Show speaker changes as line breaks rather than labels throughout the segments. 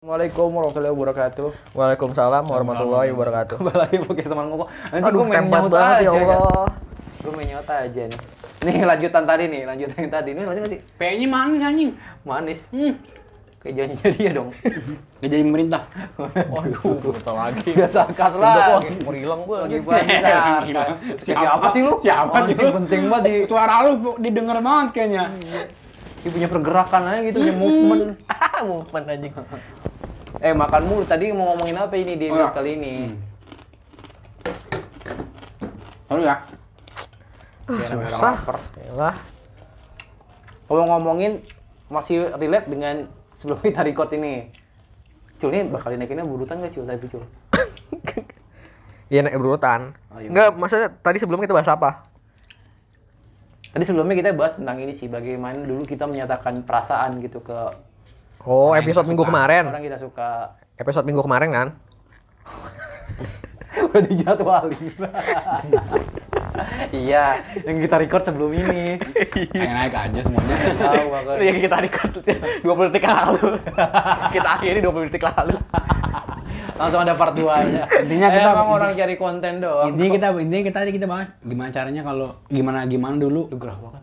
Assalamualaikum warahmatullahi wabarakatuh.
Waalaikumsalam warahmatullahi wabarakatuh.
Kembali lagi pakai teman ngomong. Anjing
Aduh,
gue main
tempat
nyamut
banget
aja,
ya Allah.
Gue main nyamut aja nih. Nih lanjutan tadi nih, lanjutan yang tadi. Ini lanjut sih?
P-nya manis anjing.
Manis.
Hmm.
Kayak janjinya dia dong.
Gak jadi pemerintah.
Waduh.
Bentar lagi.
Gak sarkas
Udah
lah. gitu.
kok mau hilang gue lagi.
Lagi pagi sarkas. Siapa sih lu?
Siapa
Anjing,
sih lu?
Penting banget di
Suara lu pu- didengar banget kayaknya.
dia punya pergerakan aja gitu, punya movement.
Movement anjing.
Eh makan mulu. Tadi mau ngomongin apa ini di
Oh, ya.
episode kali ini?
Lalu ya.
Kayak orang
Susah.
lapar.
Yalah.
Kalau ngomongin masih relate dengan sebelum kita record ini. Cul ini bakal naikinnya burutan gak Cul? Tapi Cul.
Iya naik berurutan.
Ayo.
Enggak, maksudnya tadi sebelumnya kita bahas apa?
Tadi sebelumnya kita bahas tentang ini sih, bagaimana dulu kita menyatakan perasaan gitu ke
Oh, episode minggu kemarin.
orang kita suka.
Episode minggu kemarin kan?
Udah dijadwalin. iya, yang kita record sebelum ini.
Kayak naik aja semuanya.
Tahu makanya.
Yang Iya, kita record 20 detik lalu. kita akhiri 20 detik lalu.
Langsung ada part 2-nya.
Intinya kita-
emang orang cari konten doang.
intinya kita intinya kita tadi kita bahas gimana caranya kalau gimana gimana dulu gerah banget.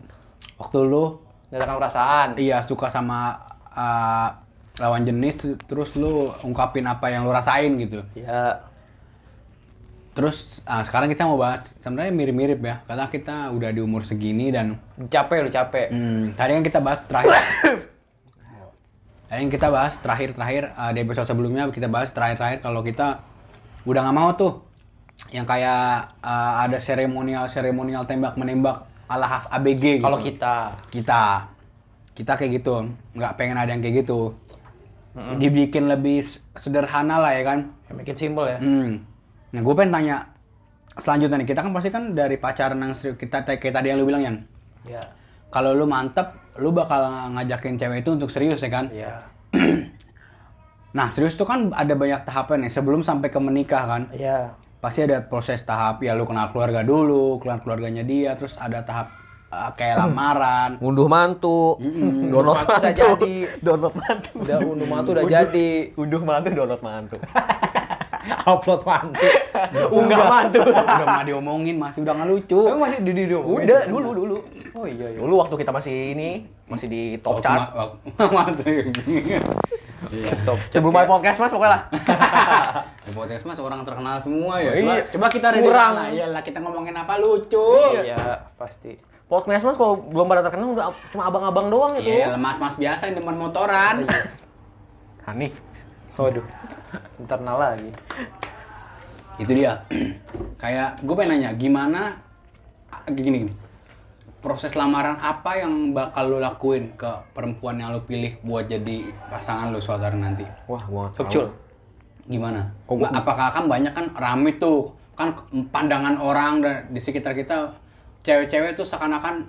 Waktu lu
Menyatakan perasaan.
iya suka sama uh, lawan jenis tu- terus lu ungkapin apa yang lu rasain gitu.
Iya.
Terus ah, sekarang kita mau bahas sebenarnya mirip-mirip ya karena kita udah di umur segini dan
Capek lu capek.
Hmm, tadi yang kita bahas terakhir. tadi yang kita bahas terakhir-terakhir eh, di episode sebelumnya kita bahas terakhir-terakhir kalau kita udah nggak mau tuh yang kayak eh, ada seremonial seremonial tembak menembak ala khas ABG gitu.
Kalau kita
kita kita kayak gitu nggak pengen ada yang kayak gitu dibikin lebih s- sederhana lah ya kan
ya, make it simple ya.
Hmm. Nah, gue pengen tanya selanjutnya nih. Kita kan pasti kan dari pacaran yang serius- kita kayak tadi yang lu bilang Yan.
Iya.
Kalau lu mantep, lu bakal ngajakin cewek itu untuk serius ya kan?
Iya.
Nah, serius itu kan ada banyak tahapan nih sebelum sampai ke menikah kan.
Iya.
Pasti ada proses tahap ya lu kenal keluarga dulu, kenal keluarganya dia, terus ada tahap eh, kayak lamaran.
Ngunduh mantu, download
Mantu udah
mantu,
jadi.
download mantu,
Udah unduh mantu udah jadi.
unduh mantu, download mantu.
Upload mantu. Unggah mantu.
udah mah diomongin masih udah nggak lucu.
Emang masih di di di-
Udah dulu dulu.
Oh iya iya.
Dulu waktu kita masih ini, masih di top
Waktu
chart.
ma- waktu- waktu- Iya.
Sebelum main podcast mas pokoknya lah.
Di podcast mas orang terkenal semua ya.
Iya.
Coba, coba kita ready
Kurang.
sana. Iyalah kita ngomongin apa lucu.
Iya, pasti.
Podcast mas kalau belum pada terkenal udah cuma abang-abang doang ya. itu.
Iya, mas-mas biasa yang demen motoran.
Iya. Hani.
Waduh. Internal lagi.
itu dia kayak gue pengen nanya gimana gini, gini proses lamaran apa yang bakal lo lakuin ke perempuan yang lo pilih buat jadi pasangan lo suatu hari nanti
Wah, gua nggak tahu.
Cul.
gimana Nggak, apakah kan banyak kan rame tuh kan pandangan orang dan di sekitar kita cewek-cewek tuh seakan-akan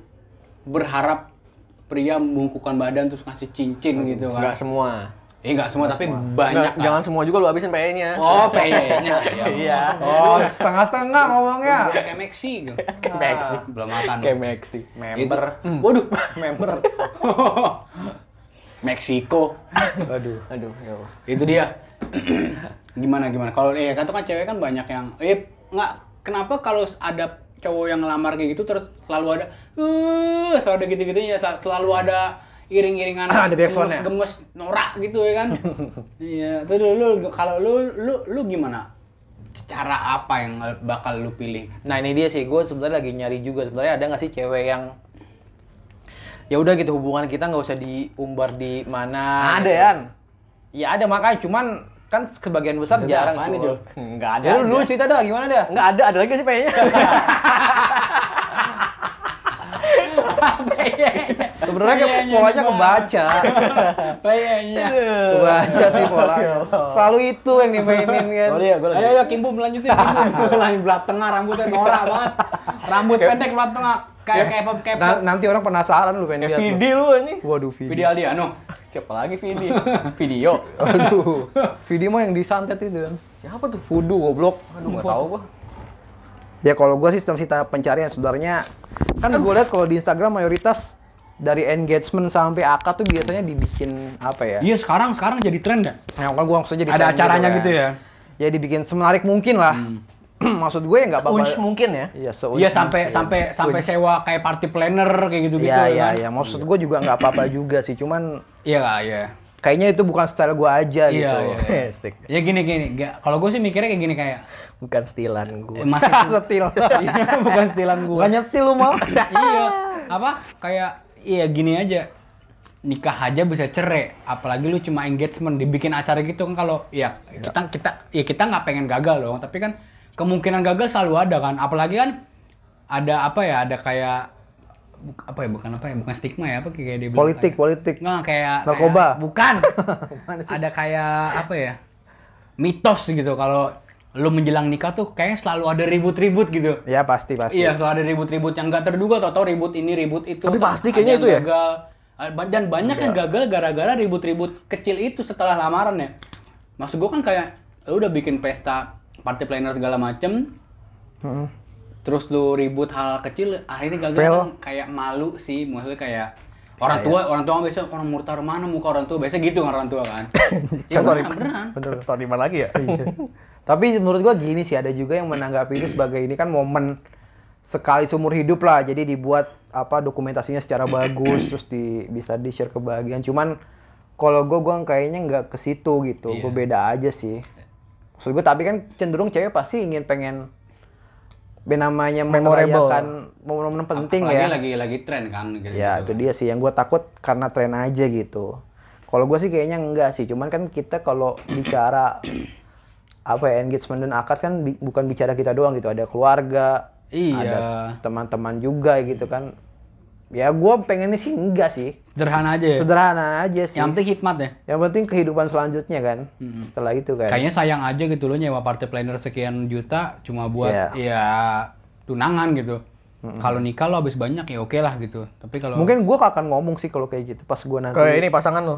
berharap pria membungkukan badan terus ngasih cincin gitu
Nggak
kan
semua.
eh nggak semua tapi
Nggak,
banyak kan.
jangan semua juga lu habisin PE-nya.
oh peyenya iya
Oh, setengah-setengah ngomongnya.
kayak Meksi gitu. belum makan
Kayak Meksi. Member. Hmm.
Itu- waduh
Member.
Meksiko
Waduh.
Aduh, ya Allah.
itu dia gimana gimana kalau eh kan tuh kan cewek kan banyak yang eh nggak kenapa kalau ada cowok yang ngelamar kayak gitu terus selalu ada eh selalu ada gitu gitunya selalu ada iring-iringan
Ada back soundnya.
gemes norak gitu ya kan iya itu dulu lu- kalau lu lu lu gimana cara apa yang bakal lu pilih
Nah ini dia sih, gue sebenarnya lagi nyari juga sebenarnya ada nggak sih cewek yang ya udah gitu hubungan kita nggak usah diumbar di mana.
Ada,
kan?
Yan.
Ya ada makanya cuman kan sebagian besar
Maksudnya
jarang
apaan nih,
Cul.
Cul?
Enggak ada.
Ya, lu, lu cerita dah gimana dah?
Enggak ada, ada lagi sih PE-nya.
Iya,
Sebenarnya kayak
Kayaknya
polanya
gimana?
kebaca.
Iya, kayaknya
kebaca sih polanya. Selalu itu yang dimainin kan.
Sorry ya, gue lagi.
Ayo, ayo, Kimbu melanjutin, Kimbu. Lain belah tengah, rambutnya norak banget. Rambut pendek belah tengah. Kayak K-pop, K-pop.
Na- Nah, nanti orang penasaran lu pengen lihat.
Vidi lu anjing.
lu. Waduh Vidi.
Video anu. Aldiano.
Siapa lagi Vidi? Video.
Aduh. Vidi mah yang disantet itu kan.
Siapa tuh?
Fudu goblok.
Aduh, enggak tahu gua.
Ya kalau gue sistem sita pencarian sebenarnya kan gue lihat kalau di Instagram mayoritas dari engagement sampai akad tuh biasanya dibikin apa ya?
Iya sekarang sekarang jadi tren ya.
Nah, kan gua maksudnya jadi
Ada
tren
acaranya gitu ya? Hmm.
Ya dibikin semenarik mungkin lah. Maksud gue ya nggak apa-apa.
Unch mungkin ya.
Iya, se-
Iya sampai
mungkin.
sampai sampai sewa kayak party planner kayak gitu gitu.
Iya, iya, iya. Maksud gue juga nggak apa-apa juga sih, cuman
Iya lah, iya.
kayaknya itu bukan style gue aja
Iya,
gitu.
iya.
Asik.
Ya gini gini, Nggak- kalau gue sih mikirnya kayak gini kayak
Bukan stilan
eh,
gue.
masih
Setil.
Iya, bukan stilan gue.
Bukan nyetil lu mau.
iya, apa kayak iya gini aja. Nikah aja bisa cerai, apalagi lu cuma engagement dibikin acara gitu kan kalau ya
Iya.
kita kita ya kita nggak pengen gagal dong, tapi kan kemungkinan gagal selalu ada kan. Apalagi kan ada apa ya, ada kayak bu- apa ya bukan apa ya bukan stigma ya apa kayak dia bilang
Politik,
kayak-
politik.
Nggak, kayak
Narkoba.
kayak- bukan ada kayak apa ya mitos gitu kalau lu menjelang nikah tuh kayaknya selalu ada ribut-ribut gitu
ya pasti pasti.
iya selalu ada ribut-ribut yang gak terduga tau tau ribut ini ribut itu
Tapi
Tau-
pasti
ada
kayaknya
yang
itu ya? Iya.
gagal. Ah, ba- dan banyak yang gagal gara-gara ribut-ribut kecil itu setelah lamaran ya maksud gua kan kayak lu udah bikin pesta party planner segala macem terus lu ribut hal kecil akhirnya gagal
Fail.
kan kayak malu sih maksudnya kayak
Iya,
orang tua orang tua biasa orang murtar mana muka orang tua biasa gitu kan orang tua kan ya
Contoh
beneran, beneran.
Bener. Tahun lima lagi ya?
Iya. Tapi menurut gua gini sih ada juga yang menanggapi itu sebagai ini kan momen sekali seumur hidup lah. Jadi dibuat apa dokumentasinya secara bagus terus di bisa di share kebahagiaan. Cuman kalau gua gua kayaknya nggak ke situ gitu. Gua beda aja sih. Maksud gua tapi kan cenderung cewek pasti ingin pengen ben- namanya
Memorable.
memerayakan momen-momen penting
apalagi
ya.
lagi lagi tren kan gitu,
Ya
Iya,
itu dia sih yang gue takut karena tren aja gitu. Kalau gue sih kayaknya enggak sih. Cuman kan kita kalau bicara apa ya, engagement dan akad kan bi- bukan bicara kita doang gitu. Ada keluarga,
Iya.
ada teman-teman juga gitu kan. Ya gue pengennya sih enggak sih.
sederhana aja ya?
Sederhana aja sih.
yang penting hikmat ya
Yang penting kehidupan selanjutnya kan. Setelah itu kan.
Kayaknya sayang aja gitu lo nyewa party planner sekian juta cuma buat
Iya.
ya tunangan gitu. Kalau nikah lo habis banyak ya oke lah gitu. Tapi kalau
Mungkin gue akan ngomong sih kalau kayak gitu pas gue nanti.
Kayak ini pasangan lo.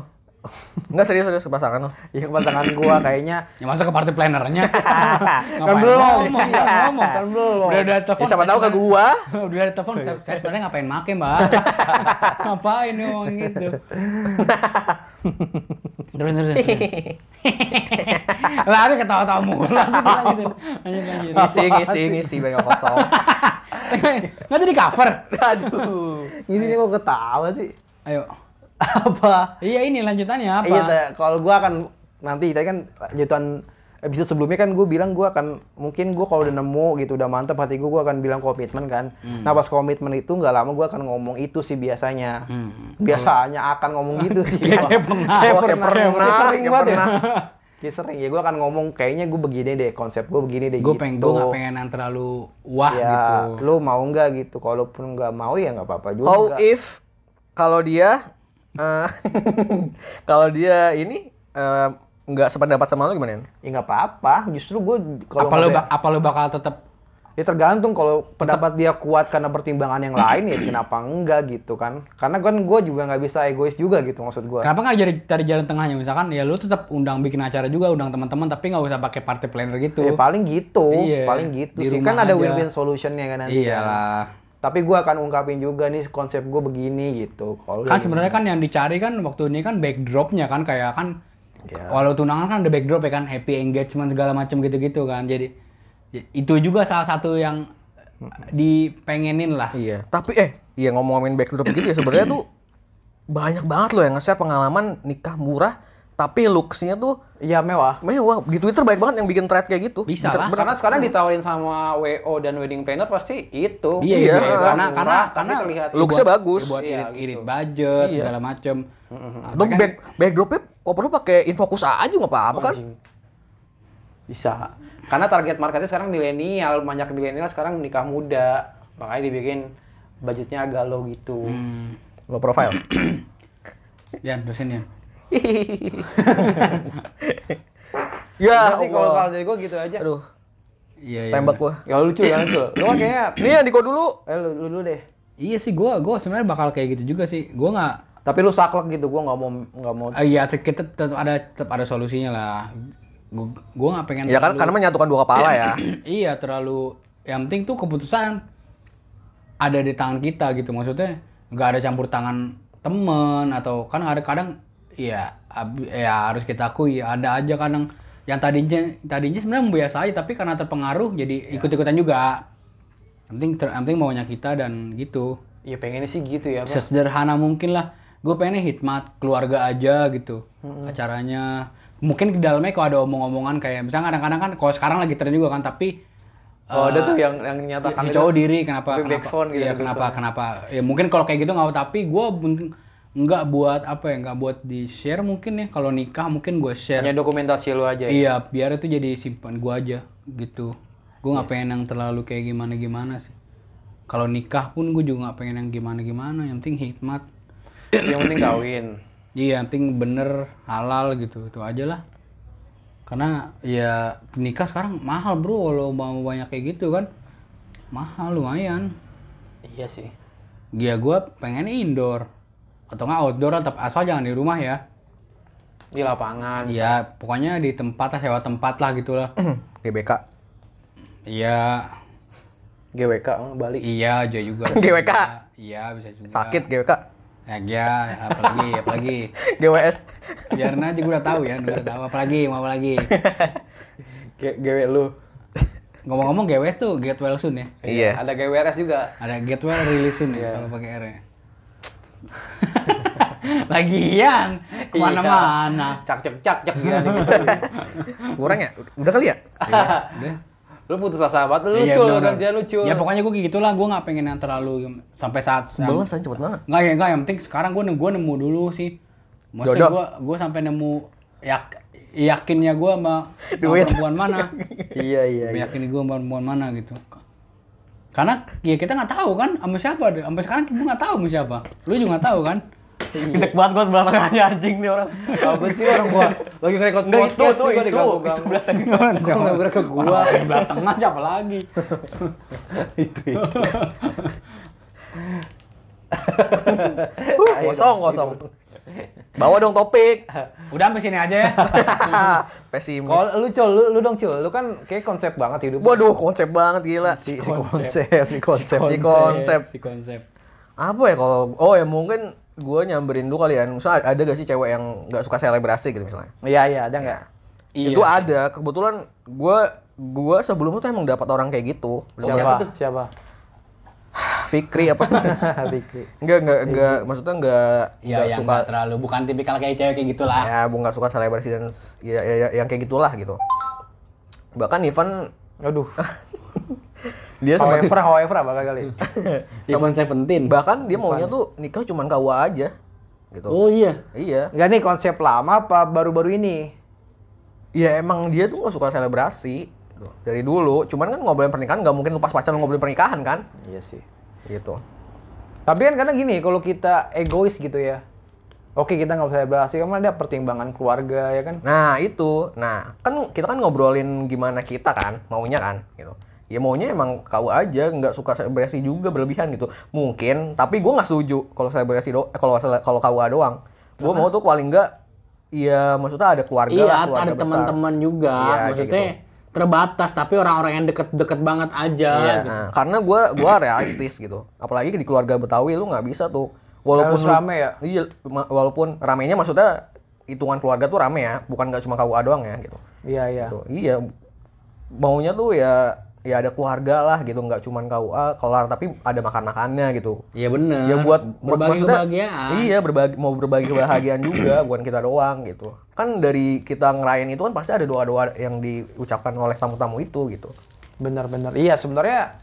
Enggak serius serius pasangan lo.
Ya pasangan gue kayaknya
ya masa ke party plannernya
Kan belum.
ngomong, iya, ngomong.
Kan belum.
Udah udah telepon.
Ya, siapa tahu ke gua.
Udah ada telepon, saya saya sebenarnya ngapain make, Mbak? ngapain nih ngomong gitu? terus terus. terus. Lari ketawa-tawa mulu Aku bilang gitu. Lanjut, lanjut.
Ngisi ngisi ngisi banyak kosong.
Nggak jadi cover.
Aduh.
ini nih kok ketawa sih.
Ayo.
apa?
Iya ini lanjutannya apa?
Iya, Teh. kalau gua akan nanti tadi kan lanjutan episode sebelumnya kan gue bilang gua akan mungkin gua kalau udah nemu gitu udah mantep hati gue gue akan bilang komitmen kan.
Hmm.
Nah pas komitmen itu nggak lama gua akan ngomong itu sih biasanya. Biasanya akan ngomong gitu sih.
Hmm. Kayak- kayak pernah.
Kayak
Wah, kayak
pernah.
pernah,
Kayak sering
kayak
banget ya.
pernah.
Kayak sering ya gue akan ngomong kayaknya gue begini deh konsep gue begini deh
gue
gitu.
pengen gue nggak pengen yang terlalu wah
ya,
gitu.
lu mau nggak gitu? Kalaupun nggak mau ya nggak apa-apa juga.
How if kalau dia eh, kalau dia ini eh, nggak sependapat sama lo gimana? Yan?
Ya nggak apa-apa. Justru gue kalau
Apa
nggak
lo
ada-
bak- apa lo bakal tetap
Ya tergantung kalau pendapat dia kuat karena pertimbangan yang lain ya kenapa enggak gitu kan. Karena kan gue juga nggak bisa egois juga gitu maksud gue.
kenapa nggak jadi cari jalan tengahnya misalkan ya lu tetap undang bikin acara juga undang teman-teman tapi nggak usah pakai party planner gitu.
Ya paling gitu,
Iya,
paling gitu
di
sih.
rumah
Kan ada
aja. Iya.
win-win solutionnya kan nanti. kan.
Iyalah.
Tapi gue akan ungkapin juga nih konsep gue begini gitu. Kalau
Kan sebenarnya kan yang dicari kan waktu ini kan backdropnya kan kayak kan
Iya.
walau tunangan kan ada backdrop ya kan happy engagement segala macam gitu-gitu kan. Jadi j- itu juga salah satu yang dipengenin lah.
Iya. Tapi eh iya ngomongin backdrop gitu ya sebenarnya tuh banyak banget loh yang nge-share pengalaman nikah murah tapi looks-nya tuh
Iya mewah.
mewah. Di Twitter banyak banget yang bikin thread kayak gitu.
Bisa
Di
lah.
thread-
Karena sekarang ditawarin sama WO dan wedding planner pasti itu.
Iya,
Iya,
iya, karena
murah,
karena
tapi
karena
terlihat.
Looks-nya
buat-
bagus.
buat
Iya,
irit-irit
gitu.
budget segala macem.
Atau back, backdropnya kok perlu pakai infocus aja nggak apa-apa kan?
Bisa. Karena target marketnya sekarang milenial, banyak milenial sekarang menikah muda, makanya dibikin budgetnya agak low gitu.
Hmm.
Lo profile.
Ya, terusin ya.
ya,
Ya
Enggak Iya sih kalau kalau
Allah.
dari gue gitu aja.
Aduh,
Iya, iya.
tembak gua.
Ya lucu ya lucu. Lu kan kayaknya
Nih ya Diko dulu.
eh lu, lu, dulu deh.
Iya sih, gua gua sebenarnya bakal kayak gitu juga sih. Gua nggak
Tapi lu saklek gitu, gua nggak mau nggak mau.
eh, iya tet- kita tetap ada tetap ada solusinya lah. Gua gua nggak pengen
Ya kan karena
terlalu-
menyatukan dua kepala ya.
iya terlalu yang penting tuh keputusan ada di tangan kita gitu maksudnya nggak ada campur tangan temen atau kan ada kadang ya ab- ya harus kita akui ada aja kadang yang tadinya tadinya sebenarnya biasa aja tapi karena terpengaruh jadi
Iya.
ikut-ikutan juga. Yang penting ter, yang penting maunya kita dan gitu.
ya pengennya sih gitu ya Pak.
Sesederhana mungkin lah. Gue pengennya hikmat keluarga aja gitu. Acaranya mungkin ke dalamnya kalau ada omong-omongan kayak misalnya kadang-kadang kan kalau sekarang lagi tren juga kan tapi
oh ada
Ah,
tuh yang kan? yang nyatakan
si
itu.
cowok diri kenapa
Tapi
kenapa
backsound gitu,
iya, kenapa kenapa ya mungkin kalau kayak gitu nggak apa- tapi gue nggak buat apa ya nggak buat di share mungkin ya kalau nikah mungkin gue
iya,
share
hanya dokumentasi lu aja ya?
iya biar itu jadi simpan gue aja gitu gue nggak
Iya.
pengen yang terlalu kayak gimana gimana sih kalau nikah pun gue juga nggak pengen yang gimana gimana yang penting hikmat
yang penting kawin
iya yang penting bener halal gitu itu aja lah karena ya nikah sekarang mahal bro kalau mau banyak kayak gitu kan mahal lumayan
iya sih
Ya gue pengen indoor atau nggak outdoor tetap asal jangan di rumah ya.
di lapangan
Ya pokoknya di tempat lah sewa tempat lah gitulah.
ya. GBK.
Iya,
GWK oh, Bali
iya aja juga.
GWK.
Iya bisa juga.
Sakit GBK.
Ya, ya apalagi apalagi.
GWS.
Biarin aja gue udah tahu ya, udah tahu apalagi mau apalagi.
G- GW lu
Ngomong-ngomong GWS tuh get well soon ya.
Iya.
ada GWRS juga
Ada get well release soon
Iya.
ya kalau pakai R ya. Lagian
Iya.
kemana-mana.
cak cak cak cak gila nih.
Kurang ya? Udah kali ya?
Udah.
lu putus asa banget lu
Iya,
Iya. lucu lu
bener.
kerja lucu
Ya pokoknya gue kayak gitulah, gue nggak pengen yang terlalu gim- sampai saat
Sebelas aja cepet banget.
Enggak ya, enggak yang penting sekarang gue nemu, nemu dulu sih. Maksudnya
Jodoh.
gue gue sampai nemu yak, yakinnya gue sama, sama
Duit.
perempuan mana.
Iya iya.
Yakin gue sama perempuan mana gitu. Karena ya kita nggak tahu kan sama siapa, deh. sampai sekarang kita nggak tahu sama siapa. Lu juga nggak tahu kan?
Gede banget gue belakangannya anjing nih orang.
apa sih orang gua lagi ngerekod
Enggak, itu,
podcast
itu,
juga
itu,
diganggu-ganggu.
itu belakang.
Kok nggak ke gua
Wah, yang belah tengah siapa lagi?
Huh, Uh, kosong kosong. Bawa dong topik.
Udah sampai sini aja ya.
Pesimis.
kalau lu cul lu, lu dong cul lu kan kayak konsep banget hidup
Waduh, konsep banget gila.
si konsep si konsep
Si konsep.
Si konsep.
Apa ya kalau oh ya mungkin gue nyamperin dulu kali ya. Misalnya ada gak sih cewek yang nggak suka selebrasi gitu misalnya?
iya iya ada nggak
Iya.
Itu ada. Kebetulan gue gue sebelumnya tuh emang dapat orang kayak gitu.
siapa siapa
Fikri apa?
Fikri.
Enggak, enggak, enggak. Maksudnya enggak,
Ya,
enggak
yang
suka
nggak terlalu bukan tipikal kayak cewek kayak gitulah.
ya bu nggak suka selebrasi dan s- ya, ya- ya- yang kayak gitulah gitu bahkan even
aduh
dia sama
however however apa kali
Seven Seventeen.
Iya,
bahkan dia maunya tuh nikah cuman kawa aja gitu
Oh iya.
iya
nggak nih konsep lama apa baru-baru ini
ya emang dia tuh nggak suka selebrasi gitu. dari dulu cuman kan ngobrolin pernikahan nggak mungkin lepas pacaran ngobrolin pernikahan kan
iya sih
gitu
Tapi kan kadang gini, kalau kita egois gitu ya. Oke, kita nggak bisa berhasil, karena ada pertimbangan keluarga ya kan.
nah itu nah kan kita kan ngobrolin gimana kita kan maunya kan gitu ya maunya emang kawa aja nggak suka selebrasi juga berlebihan gitu mungkin tapi gue nggak setuju kalau selebrasi do eh, kalau sele- kalau kawa doang gue mau tuh paling nggak Iya, maksudnya ada keluarga lah,
Iya,
keluarga
ada
besar.
teman-teman juga.
Iya, kayak
Maksudnya
gitu.
terbatas, tapi orang-orang yang deket-deket banget aja.
Iya,
gitu.
nah, karena gue gua realistis gitu. Apalagi di keluarga Betawi lu nggak bisa tuh. Walaupun
Harus
lu-
rame ya?
Iya, ma- walaupun ramenya maksudnya hitungan keluarga tuh rame ya, bukan nggak cuma KUA doang ya gitu.
Iya, iya.
Gitu. Iya, maunya tuh ya ya ada keluarga lah gitu, nggak cuma KUA kelar tapi ada makan-makanannya gitu.
Iya bener.
Ya buat buat
berbagi
maksudnya-
kebahagiaan.
Iya, berbagi mau berbagi kebahagiaan juga bukan kita doang gitu. Kan dari kita ngerayain itu kan pasti ada doa-doa yang diucapkan oleh tamu-tamu itu gitu.
Benar-benar. Iya, sebenarnya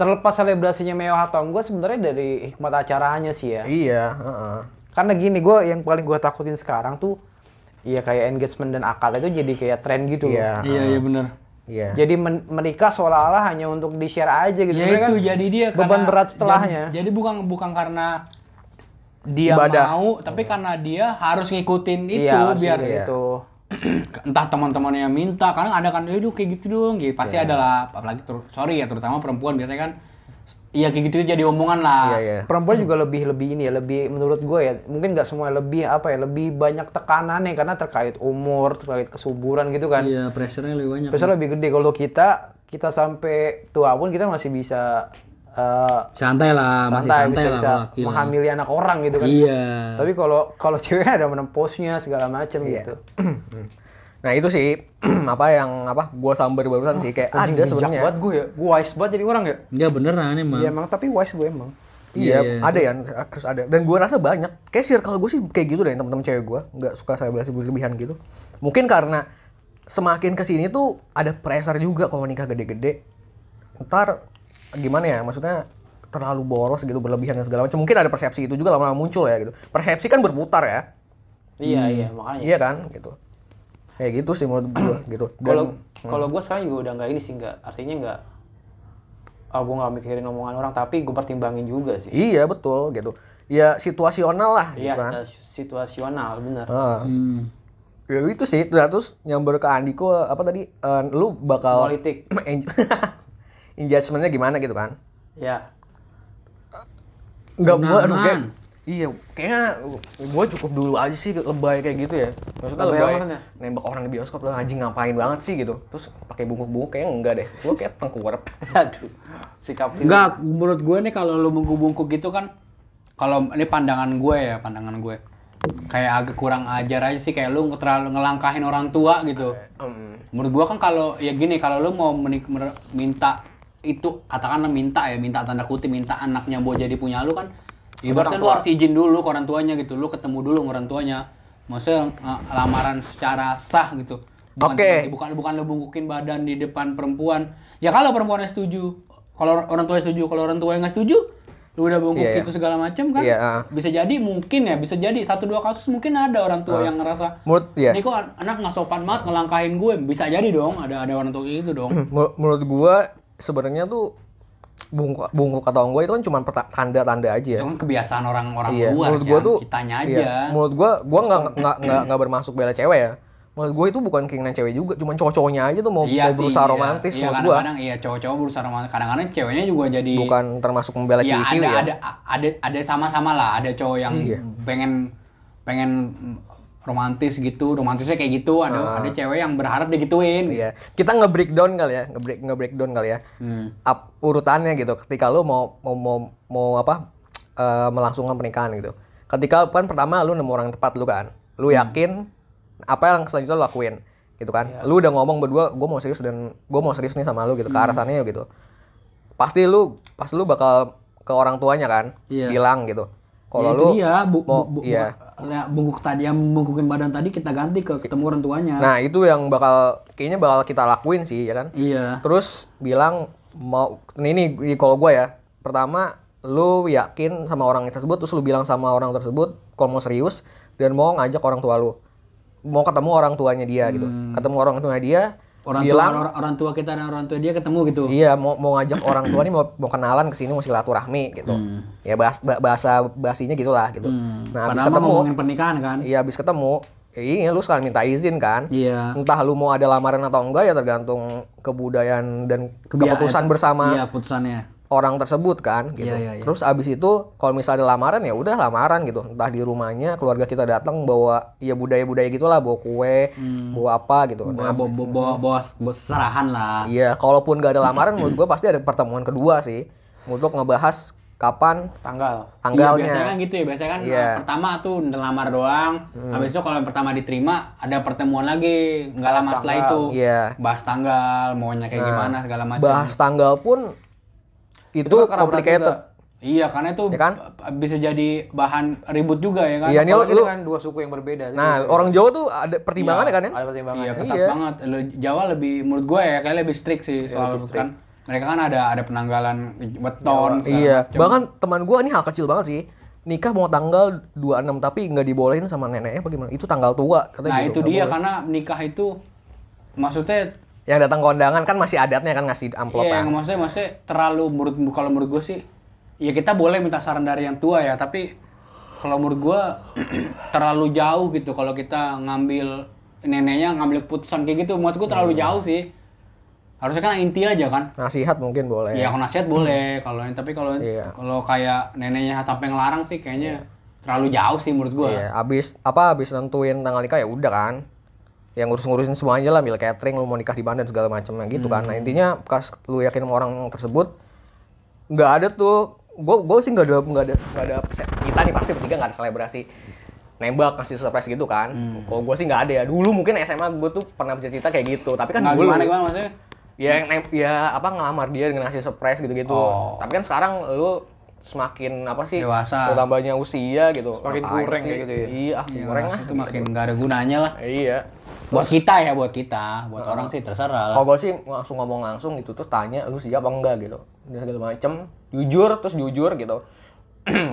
terlepas selebrasinya mewah atau enggak, sebenarnya dari hikmat acaranya sih ya.
Iya, heeh.
Karena gini, gue yang paling gue takutin sekarang tuh, iya kayak engagement dan akad itu jadi kayak tren gitu loh.
Iya.
Iya iya benar.
Iya.
Jadi men- menikah seolah-olah hanya untuk di-share aja gitu.
Ya
Sebenarnya
itu
kan
jadi dia
beban
karena-
berat setelahnya.
Jadi, jadi bukan bukan karena dia
Ibadah.
mau, tapi karena dia harus ngikutin itu
iya, harus
biar
gitu, itu.
entah teman-temannya minta kadang ada kan aduh kayak gitu dong gitu pasti
Iya.
ada lah apalagi ter- sorry ya terutama perempuan biasanya kan iya kayak gitu jadi omongan lah
Iya, iya.
perempuan juga lebih lebih ini ya lebih menurut gue ya mungkin nggak semua lebih apa ya lebih banyak tekanannya karena terkait umur terkait kesuburan gitu kan
iya pressure-nya lebih banyak
besar lebih gede kalau kita kita sampai tua pun kita masih bisa eh,
Santai lah, Ah, masih
santai,
santai, lah
bisa, bisa
kalau laki lah.
menghamili anak orang gitu kan.
Iya.
Tapi kalau kalau cewek ada menemposnya segala macam gitu.
Nah itu sih apa yang apa gua sambar barusan sih
Anjing,
kayak ada
bijak
sebenarnya.
banget gue ya. Gue wise banget jadi orang ya.
Enggak beneran emang.
Iya emang tapi wise gue emang.
Iya,
Iya,
ada ya, terus ada. Dan gue rasa banyak. Kayak circle gue sih kayak gitu deh, temen-temen cewek gue. Nggak suka selebrasi berlebihan gitu. Mungkin karena semakin kesini tuh ada pressure juga kalau nikah gede-gede. Ntar gimana ya, maksudnya terlalu boros gitu, berlebihan dan segala macam. Mungkin ada persepsi itu juga lama-lama muncul ya gitu. Persepsi kan berputar ya.
Iya,
Hmm.
iya, makanya.
Iya kan, gitu. Kayak gitu sih menurut gue gitu. Dan-
Kalau kalau
Hmm.
gue sekarang juga udah nggak ini sih, nggak artinya nggak. Oh, gue nggak mikirin omongan orang, tapi gue pertimbangin juga sih.
Iya betul gitu. Ya situasional lah gitu
Iya,
kan.
situa- situasional, bener.
Heeh.
Hmm.
Ya itu sih, nah, terus nyamber ke Andiko apa tadi? eh, lu bakal
Politik.
Eng- engagement-nya gimana gitu kan?
Ya,
Enggak gua aduh
Undangan.
kayak, Iya, kayaknya gua cukup dulu aja sih lebay kayak gitu ya. Maksudnya
Lebay
lebay,
apa kan ya?
nembak orang di bioskop lah anjing ngapain banget sih gitu. Terus pakai bungkuk-bungkuk kayaknya enggak deh. Gua kayak tengkurap.
aduh, sikap ini.
Enggak,
menurut gue nih kalau lu bungkuk-bungkuk gitu kan kalau ini pandangan gue ya pandangan gue kayak agak kurang ajar aja sih kayak lu terlalu ngelangkahin orang tua gitu menurut gue kan kalau ya gini kalau lu mau menik- mer- minta itu katakanlah minta ya minta tanda kutip minta anaknya buat jadi punya lu kan ibaratnya lu harus izin dulu ke orang tuanya gitu lu ketemu dulu sama orang tuanya maksudnya eh, lamaran secara sah gitu Bukan-
Oke.
bukan bukan lu bungkukin badan di depan perempuan ya kalau perempuannya setuju kalau orang tua setuju kalau orang tua nggak setuju lu udah bungkuk
Iya, iya.
itu segala macam kan
Iya, ah.
bisa jadi mungkin ya bisa jadi satu dua kasus mungkin ada orang tua yang ngerasa
Menurut- Ah. iya.
ini kok an- anak nggak sopan banget ngelangkahin gue bisa jadi dong ada ada orang tua kayak gitu dong
Menur- menurut gua sebenarnya tuh bungkuk bungkuk atau enggak itu kan cuma perta- tanda-tanda aja ya.
itu kan kebiasaan orang-orang
Iya,
luar
menurut gua
Jan.
tuh
kitanya aja
iya, menurut gua gua nggak nggak nggak nggak bermasuk bela cewek ya. Menurut gua itu bukan keinginan cewek juga, cuman cowok-cowoknya aja tuh mau, mau berusaha romantis
iya,
menurut gua.
kadang-kadang iya cowok-cowok berusaha romantis kadang-kadang ceweknya juga jadi
Bukan termasuk membela
Iya ada,
cewek ya.
ada ada ada sama-sama lah ada cowok yang
Iya.
pengen pengen romantis gitu romantisnya kayak gitu ada ada cewek yang berharap
Ah.
digituin
Iya. Kita nge-breakdown kali ya, nge-break nge-breakdown kali ya.
Hmm.
Up, urutannya gitu ketika lu mau mau mau, mau apa? eh, melangsungkan pernikahan gitu. Ketika kan pertama lu nemu orang yang tepat lu kan. Lu
Hmm.
yakin apa yang selanjutnya lu lakuin gitu kan.
Iya.
Lu udah ngomong berdua gue mau serius dan gue mau serius nih sama lu gitu ke arah sana yuk gitu. Pasti lu pas lu bakal ke orang tuanya kan
Iya.
bilang gitu. Kalau
Ya, itu
lu
dia, bu,
mau-
bu- bu-
iya.
ya, bungkuk tadi yang membungkukin badan tadi kita ganti ke ketemu orang tuanya.
Nah, itu yang bakal kayaknya bakal kita lakuin sih ya kan.
Iya.
Terus bilang mau ini nih ini kalau gue ya. Pertama lu yakin sama orang tersebut terus lu bilang sama orang tersebut kalau mau serius dan mau ngajak orang tua lu. Mau ketemu orang tuanya dia gitu. Ketemu orang tuanya dia
Hmm. Orang
bilang
tua orang, orang tua kita dan orang tua dia ketemu gitu.
iya mau mau ngajak orang tua nih mau mau kenalan ke sini mau silaturahmi gitu.
Hmm.
Ya bahas, ba- bahasa basinya gitulah gitu. Nah, habis
Padahal mah
ketemu
ngomongin pernikahan kan.
Iya habis ketemu ya ini lu sekalian minta izin kan
Iya.
entah lu mau ada lamaran atau enggak ya tergantung kebudayaan dan keputusan bersama
Iya, putusannya.
orang tersebut kan gitu.
Iya, iya, iya.
Terus abis itu kalau misalnya ada lamaran ya udah lamaran gitu. Entah di rumahnya keluarga kita datang bawa ya budaya-budaya gitulah, bawa kue, bawa apa gitu.
bawa
Nah,
bawa bawa, bawa- bawa- bawa serahan lah
iya, kalaupun gak ada lamaran menurut gua pasti ada pertemuan kedua sih untuk ngebahas kapan
Tanggal.
Iya,
tanggalnya.
biasanya kan gitu ya biasanya kan
Iya. Hmm.
eh, pertama tuh ngelamar doang habis itu kalau yang pertama diterima ada pertemuan lagi nggak lama setelah itu
Iya. Nah,
bahas tanggal maunya kayak gimana segala Iya, macam
Bahas tanggal pun itu,
Itu perkara berat
complicated.
juga.
iya karena itu
Ya kan?
b- bisa jadi bahan ribut juga ya kan
Iya, ini
Kalau
lu,
kita
lu-
kan dua suku yang berbeda.
Nah, orang Jawa tuh ada pertimbangannya kan ya?
ada pertimbangan.
Iya ketat banget. Le- Jawa lebih menurut gue ya kayak lebih strict sih
Iya,
soal kan mereka kan ada ada penanggalan beton. segala
Iya,
macam.
bahkan teman gua ini hal kecil banget sih. Nikah mau tanggal 26 tapi nggak dibolehin sama neneknya apa gimana? Itu tanggal tua katanya
Nah
gitu,
itu
nggak
dia
boleh.
karena nikah itu maksudnya
Yang datang kondangan kan masih adatnya kan ngasih amplop kan.
iya yang maksudnya maksudnya terlalu menurut kalau menurut gue sih ya kita boleh minta saran dari yang tua ya tapi kalau menurut gue terlalu jauh gitu kalau kita ngambil neneknya ngambil keputusan kayak gitu maksud gue
Iya.
terlalu jauh sih harusnya kan inti aja kan
Nasihat mungkin boleh.
Iya, kalau nasihat boleh, kalau yang- tapi kalau
Iya.
kalau kayak neneknya sampai ngelarang sih kayaknya terlalu jauh sih menurut gua.
Iya, abis apa abis nentuin tanggal nikah ya udah kan. Yang ngurus-ngurusin semuanya lah, mil
Hmm.
catering, lu mau nikah di mana dan segala macamnya gitu kan. Nah, intinya pas lu yakin sama orang tersebut nggak ada tuh gue gue sih nggak ada nggak ada nggak ada kita nih pasti bertiga nggak ada selebrasi nembak ngasih surprise gitu kan
Hmm.
kalau gue sih nggak ada ya dulu mungkin SMA gue tuh pernah bercerita kayak gitu tapi kan
Nggak
dulu
Nah, gimana gimana maksudnya?
ya yang nem- ya apa ngelamar dia dengan ngasih surprise gitu-gitu
Iya. Oh.
tapi kan sekarang lu semakin apa sih
Dewasa.
bertambahnya usia gitu
Semakin
Ngapain
kurang
sih?
kayak gitu ya?
iya ah,
Iya,
kurang
mas,
ah
itu makin nggak ada gunanya lah.
iya
Buat kita ya, buat kita, buat orang sih terserah lah.
kalau gue sih langsung ngomong langsung gitu terus tanya lu siap apa enggak gitu dan segala macem jujur terus jujur gitu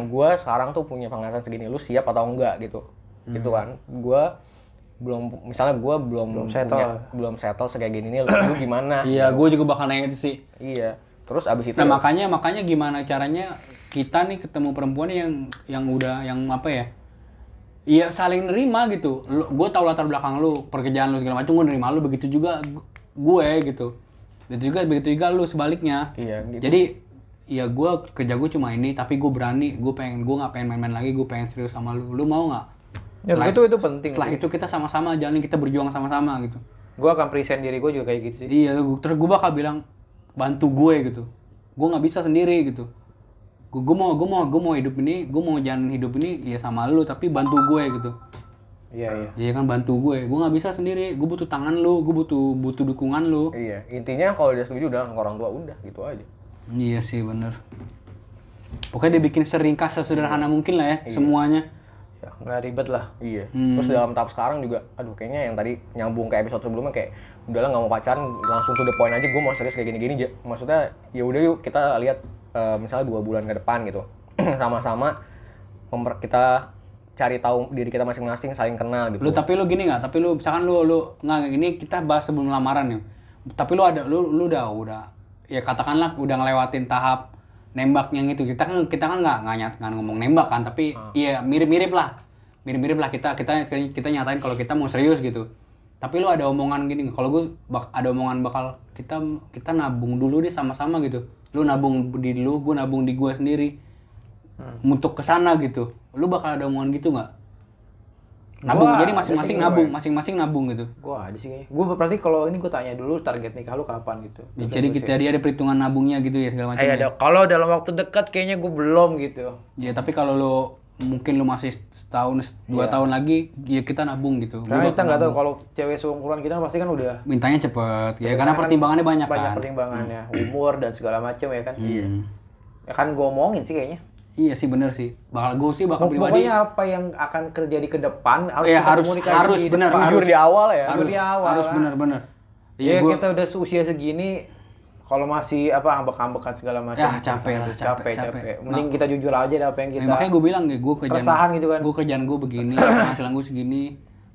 gue sekarang tuh punya penghasilan segini lu siap atau enggak gitu
Hmm.
gitu kan gue belum misalnya gue belum belum
settle.
belum settle kayak gini nih lu, lu gimana
Iya, gue juga bakal nanya itu sih.
iya terus abis itu
Nah makanya makanya gimana caranya kita nih ketemu perempuan yang yang udah yang apa ya? Iya saling nerima gitu. Gue tahu latar belakang lu, pekerjaan lu segala macam, gue nerima lu begitu juga gu- gue gitu. Dan juga begitu juga lu sebaliknya.
Iya, gitu.
Jadi ya gue kerja gue cuma ini, tapi gue berani, gue pengen gue nggak pengen main-main lagi, gue pengen serius sama lu. Lu mau nggak?
Ya,
Setelah-
itu- itu penting
Setelah
sih.
itu kita sama-sama jalan, kita berjuang sama-sama gitu.
Gue akan present diri gue juga kayak gitu sih.
Iya, gua- terus gue bakal bilang bantu gue gitu. Gue nggak bisa sendiri gitu. Gue gua mau gue mau gue mau hidup ini, gue mau jalan hidup ini ya sama lu tapi bantu gue gitu.
Iya iya.
Iya kan bantu gue. Gue nggak bisa sendiri. Gue butuh tangan lu, gue butuh butuh dukungan lu.
Iya, intinya kalau dia setuju udah orang tua udah gitu aja.
Iya sih bener. Pokoknya dia bikin seringkas sesederhana mungkin lah ya semuanya.
Ya, nggak ribet lah.
Iya. Terus dalam tahap sekarang juga, aduh kayaknya yang tadi nyambung ke episode sebelumnya kayak udahlah nggak mau pacaran, langsung to the point aja. Gue mau serius kayak gini-gini. Ja. Maksudnya ya udah yuk kita lihat eh, misalnya dua bulan ke depan gitu, sama-sama memper- kita cari tahu diri kita masing-masing, saling kenal gitu.
Lu tapi lu gini nggak? Tapi lu misalkan lu lu nggak ini kita bahas sebelum lamaran ya. Tapi lu ada lu lu udah udah ya katakanlah udah ngelewatin tahap nembak yang itu kita kan kita kan nggak nggak nyat- nggak ngomong nembak kan tapi iya mirip-mirip lah mirip-mirip lah kita kita kita nyatain kalau kita mau serius gitu tapi lu ada omongan gini nggak? kalau gue bak, ada omongan bakal kita kita nabung dulu deh sama-sama gitu lu nabung di lu gue nabung di gue sendiri untuk kesana gitu lu bakal ada omongan gitu nggak nabung
Gua
jadi masing-masing nabung masing-masing nabung gitu
Gue ada sih kayaknya. Gue berarti kalau ini gue tanya dulu target nikah lu kapan gitu.
Ya, jadi kita dia ada perhitungan nabungnya gitu ya segala macam
Kayak
ya.
ada kalau dalam waktu dekat kayaknya gue belum gitu.
Ya, tapi kalau lo mungkin lo masih setahun dua tahun lagi ya kita nabung gitu
Karena Iya.
Gua bakal
Nah, kita nggak tahu kalau cewek seumuran kita pasti kan udah
mintanya cepet ya karena pertimbangannya banyak,
banyak
kan
pertimbangannya, umur dan segala macam ya kan. Iya. Ya kan gue omongin sih kayaknya.
iya sih bener sih bakal gue sih bakal
Oh,
pribadi
Pokoknya apa yang akan terjadi ke depan harus
ya
kita
harus
komunikasi
harus
di
bener
depan.
harus
Jujur di awal ya.
harus
di awal
harus
lah.
bener-bener
Iya
ya, gua-
kita udah seusia segini kalau masih apa ambek-ambekan segala macam.
Ya, capek lah, capek,
capek,
capek.
capek. Mending kita jujur aja deh apa yang
Ya,
kita.
makanya gue bilang gue kerjaan
Keresahan gitu kan.
gue kerjaan gue begini penghasilan gue segini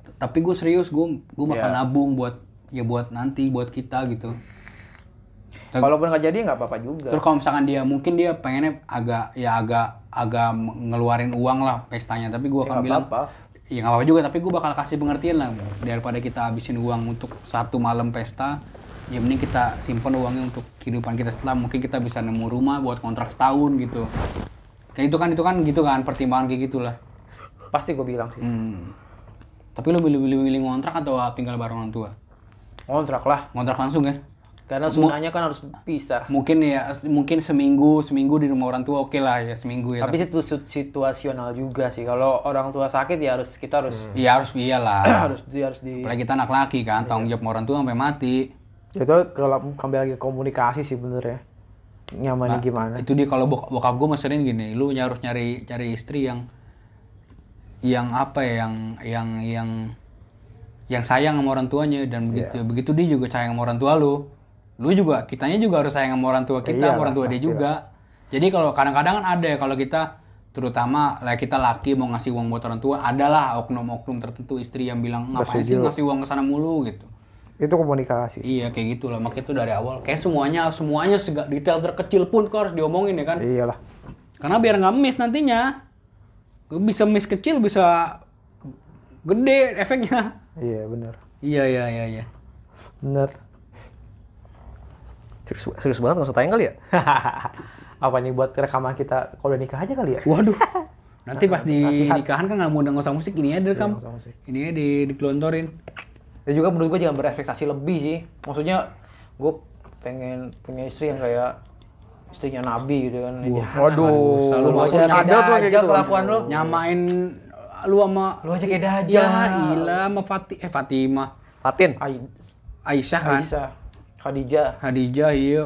T- tapi gue serius gue gue bakal
Iya.
nabung buat ya buat nanti buat kita gitu
Kalaupun nggak jadi nggak apa-apa juga.
terus kalau misalkan dia mungkin dia pengennya agak ya agak agak ngeluarin uang lah pestanya tapi gue akan
nggak
bilang
apa-apa.
ya nggak apa-apa juga tapi gue bakal kasih pengertian lah daripada kita habisin uang untuk satu malam pesta ya mending kita simpan uangnya untuk kehidupan kita setelah mungkin kita bisa nemu rumah buat kontrak setahun gitu kayak itu kan itu kan gitu kan pertimbangan kayak gitulah
Pasti gue bilang sih.
Hmm. Tapi lo milih-milih ngontrak atau tinggal bareng orang tua?
Kontrak lah.
Ngontrak langsung ya?
Karena sunahnya kan harus pisah.
Mungkin ya, mungkin seminggu, seminggu di rumah orang tua oke lah ya seminggu ya.
Tapi situ situ- situasional juga sih. Kalau orang tua sakit ya harus kita harus
Iya harus iyalah.
harus di harus di
Apalagi kita anak laki kan, tanggung jawab sama orang tua sampai mati.
Itu kalau kembali lagi ke komunikasi sih bener ya. Nyamannya gimana?
Nah, Itu dia kalau bok- bokap gue meserin gini, lu harus nyari cari istri yang yang apa ya, yang yang yang yang sayang sama orang tuanya dan begitu begitu dia juga sayang sama orang tua lu. Lu juga kitanya juga harus sayang sama orang tua kita, sama orang tua dia juga. Jadi kalau kadang-kadang kan ada ya kalau kita terutama lah kita laki mau ngasih uang buat orang tua adalah oknum-oknum tertentu istri yang bilang ngapain sih ngasih uang ke sana mulu gitu.
Itu komunikasi.
Iya kayak gitu lah, makanya itu dari awal. Kayak semuanya, semuanya sega, detail terkecil pun kok harus diomongin ya kan.
Iya.
Iyalah.
Karena biar nggak miss nantinya. Bisa miss kecil, bisa gede efeknya.
Iya bener.
Iya, iya, iya, iya.
Bener.
Serius, serius banget nggak usah tanya kali ya.
apa nih buat rekaman kita kalau udah nikah aja kali ya?
Waduh. Nanti pas di nikahan kan nggak mau denger sama musik, ini ya
Iya,
direkam. Ini ya di,
Dan
dikelontorin.
Ya juga menurut gue jangan berekspektasi lebih sih. Maksudnya gue pengen punya istri yang kayak istrinya Nabi gitu kan. Ini
Waduh,
Selalu
Lu
masuk
aja
nyam-
ada tuh kayak
aja
gitu.
kelakuan lu.
nyamain lu sama
Lu aja kayak
ya
dajal.
gila sama Fati eh Fatimah
Fatin.
Ai-
Aisyah kan
Aisyah, Ya, Khadijah,
Khadijah iya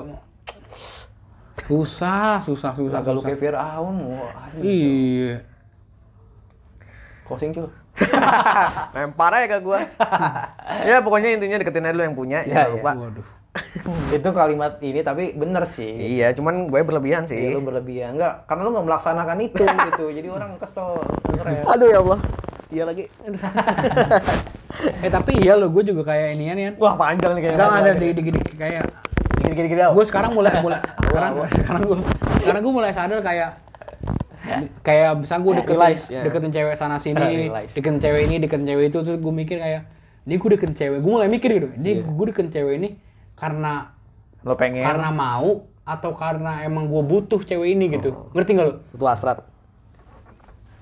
susah susah susah
Agak lu
susah
kayak Fir'aun, wah, aduh.
iya
closing kill.
Lempar aja ke gua. ya pokoknya intinya deketin aja dulu yang punya, jangan lupa.
waduh
Itu kalimat ini tapi bener sih.
Iya, cuman gue berlebihan
Ya,
sih.
lu berlebihan enggak karena lu nggak melaksanakan itu gitu jadi orang kesel bener ya.
Aduh ya Allah. Iya lagi.
eh tapi iya lo gue juga kayak inian ya
Wah, panjang nih kayaknya.
Enggak ada gede-gede kayak
Gini-gini
gue sekarang mulai mulai sekarang sekarang gue sekarang gue mulai sadar kayak kayak misalnya gue deketin deketin cewek sana sini
Realize.
deketin cewek ini deketin cewek itu terus gue mikir kayak ini gue deketin cewek gue mulai mikir gitu ini gue deketin cewek ini karena
lo pengen
karena mau atau karena emang gue butuh cewek ini gitu ngerti gak lo
Itu hasrat.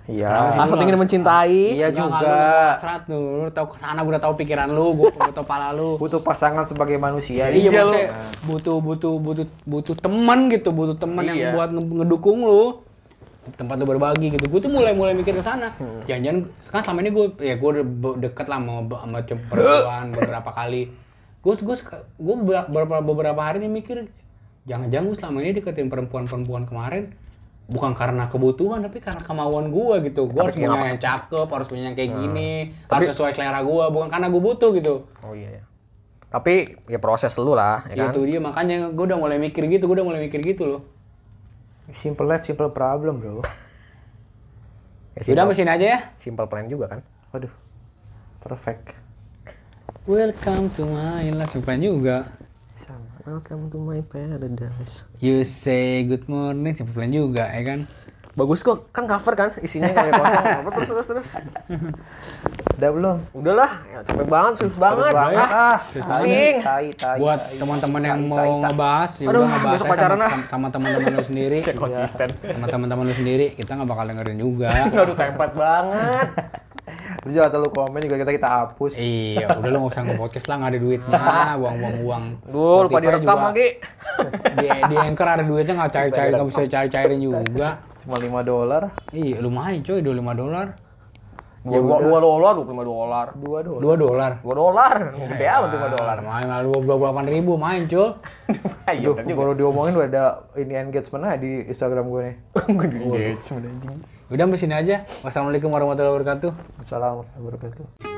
Ah,
iya
Hasrat ingin mencintai.
iya juga
serat lu, lu tau kesana gue udah tau pikiran lu gue gue tau pala lu
butuh pasangan sebagai manusia
Iya,
Iya,
maksudnya butuh butuh butuh butuh teman gitu, butuh teman yang buat nge- ngedukung lu. Tempat lu berbagi gitu. Gue tuh mulai-mulai mikir ke sana. Jangan-jangan kan selama ini gue ya gue udah be- deket lah sama sama ce- perempuan beberapa kali. Gue gue gue beberapa beberapa hari ini mikir jangan-jangan gue selama ini deketin perempuan-perempuan kemarin bukan karena kebutuhan tapi karena kemauan gua gitu. Gue harus punya yang cakep, harus punya yang kayak gini, harus sesuai selera gua, bukan karena gue butuh gitu.
Oh iya ya. Tapi ya proses lu lah, ya kan?
Itu Iya, dia makanya gue udah mulai mikir gitu, gue udah mulai mikir gitu loh.
simple life simple problem bro
Ya,
Sudah mesin aja ya.
simple plan juga kan.
waduh perfect
Welcome to my life Sumpah juga.
Sama. Welcome to my paradise.
You say good morning Sumpah juga ya kan.
Bagus kok, kan cover kan isinya kayak kosong. Apa terus terus terus.
Udah belum?
Udahlah, ya, capek banget, susah banget.
banget,
Ah,
susah
pusing.
Tai,
Ah,
tai.
Buat
iya,
teman-teman yang mau ngebahas ya
Aduh,
udah ngebahas
besok
aja
pacaran
sama,
ah.
sama- sama teman-teman lu sendiri. konsisten. Sama teman-teman lu sendiri, kita nggak bakal dengerin juga.
Aduh, tempat banget.
Terus jangan terlalu komen juga kita kita hapus.
iya, udah lu nggak usah nge-podcast lah, nggak ada duitnya, buang-buang uang.
Duh, lupa
Spotify
direkam
juga.
lagi.
Di, di Anchor ada duitnya nggak cair-cair, nggak bisa cair-cairin juga.
Cuma 5 dolar.
Iya, lumayan coy, 25 dolar.
Dua, dua, dua dolar, dua puluh lima dolar.
2 dolar.
2 dolar.
Dua dolar, gede amat lima dolar.
Main lah 28 ribu main cul.
Ayo,
Iya,
Duh, baru diomongin udah ada ini engagement aja di Instagram gue nih.
Udah sampai sini aja. Wassalamualaikum warahmatullahi wabarakatuh.
Assalamualaikum warahmatullahi wabarakatuh.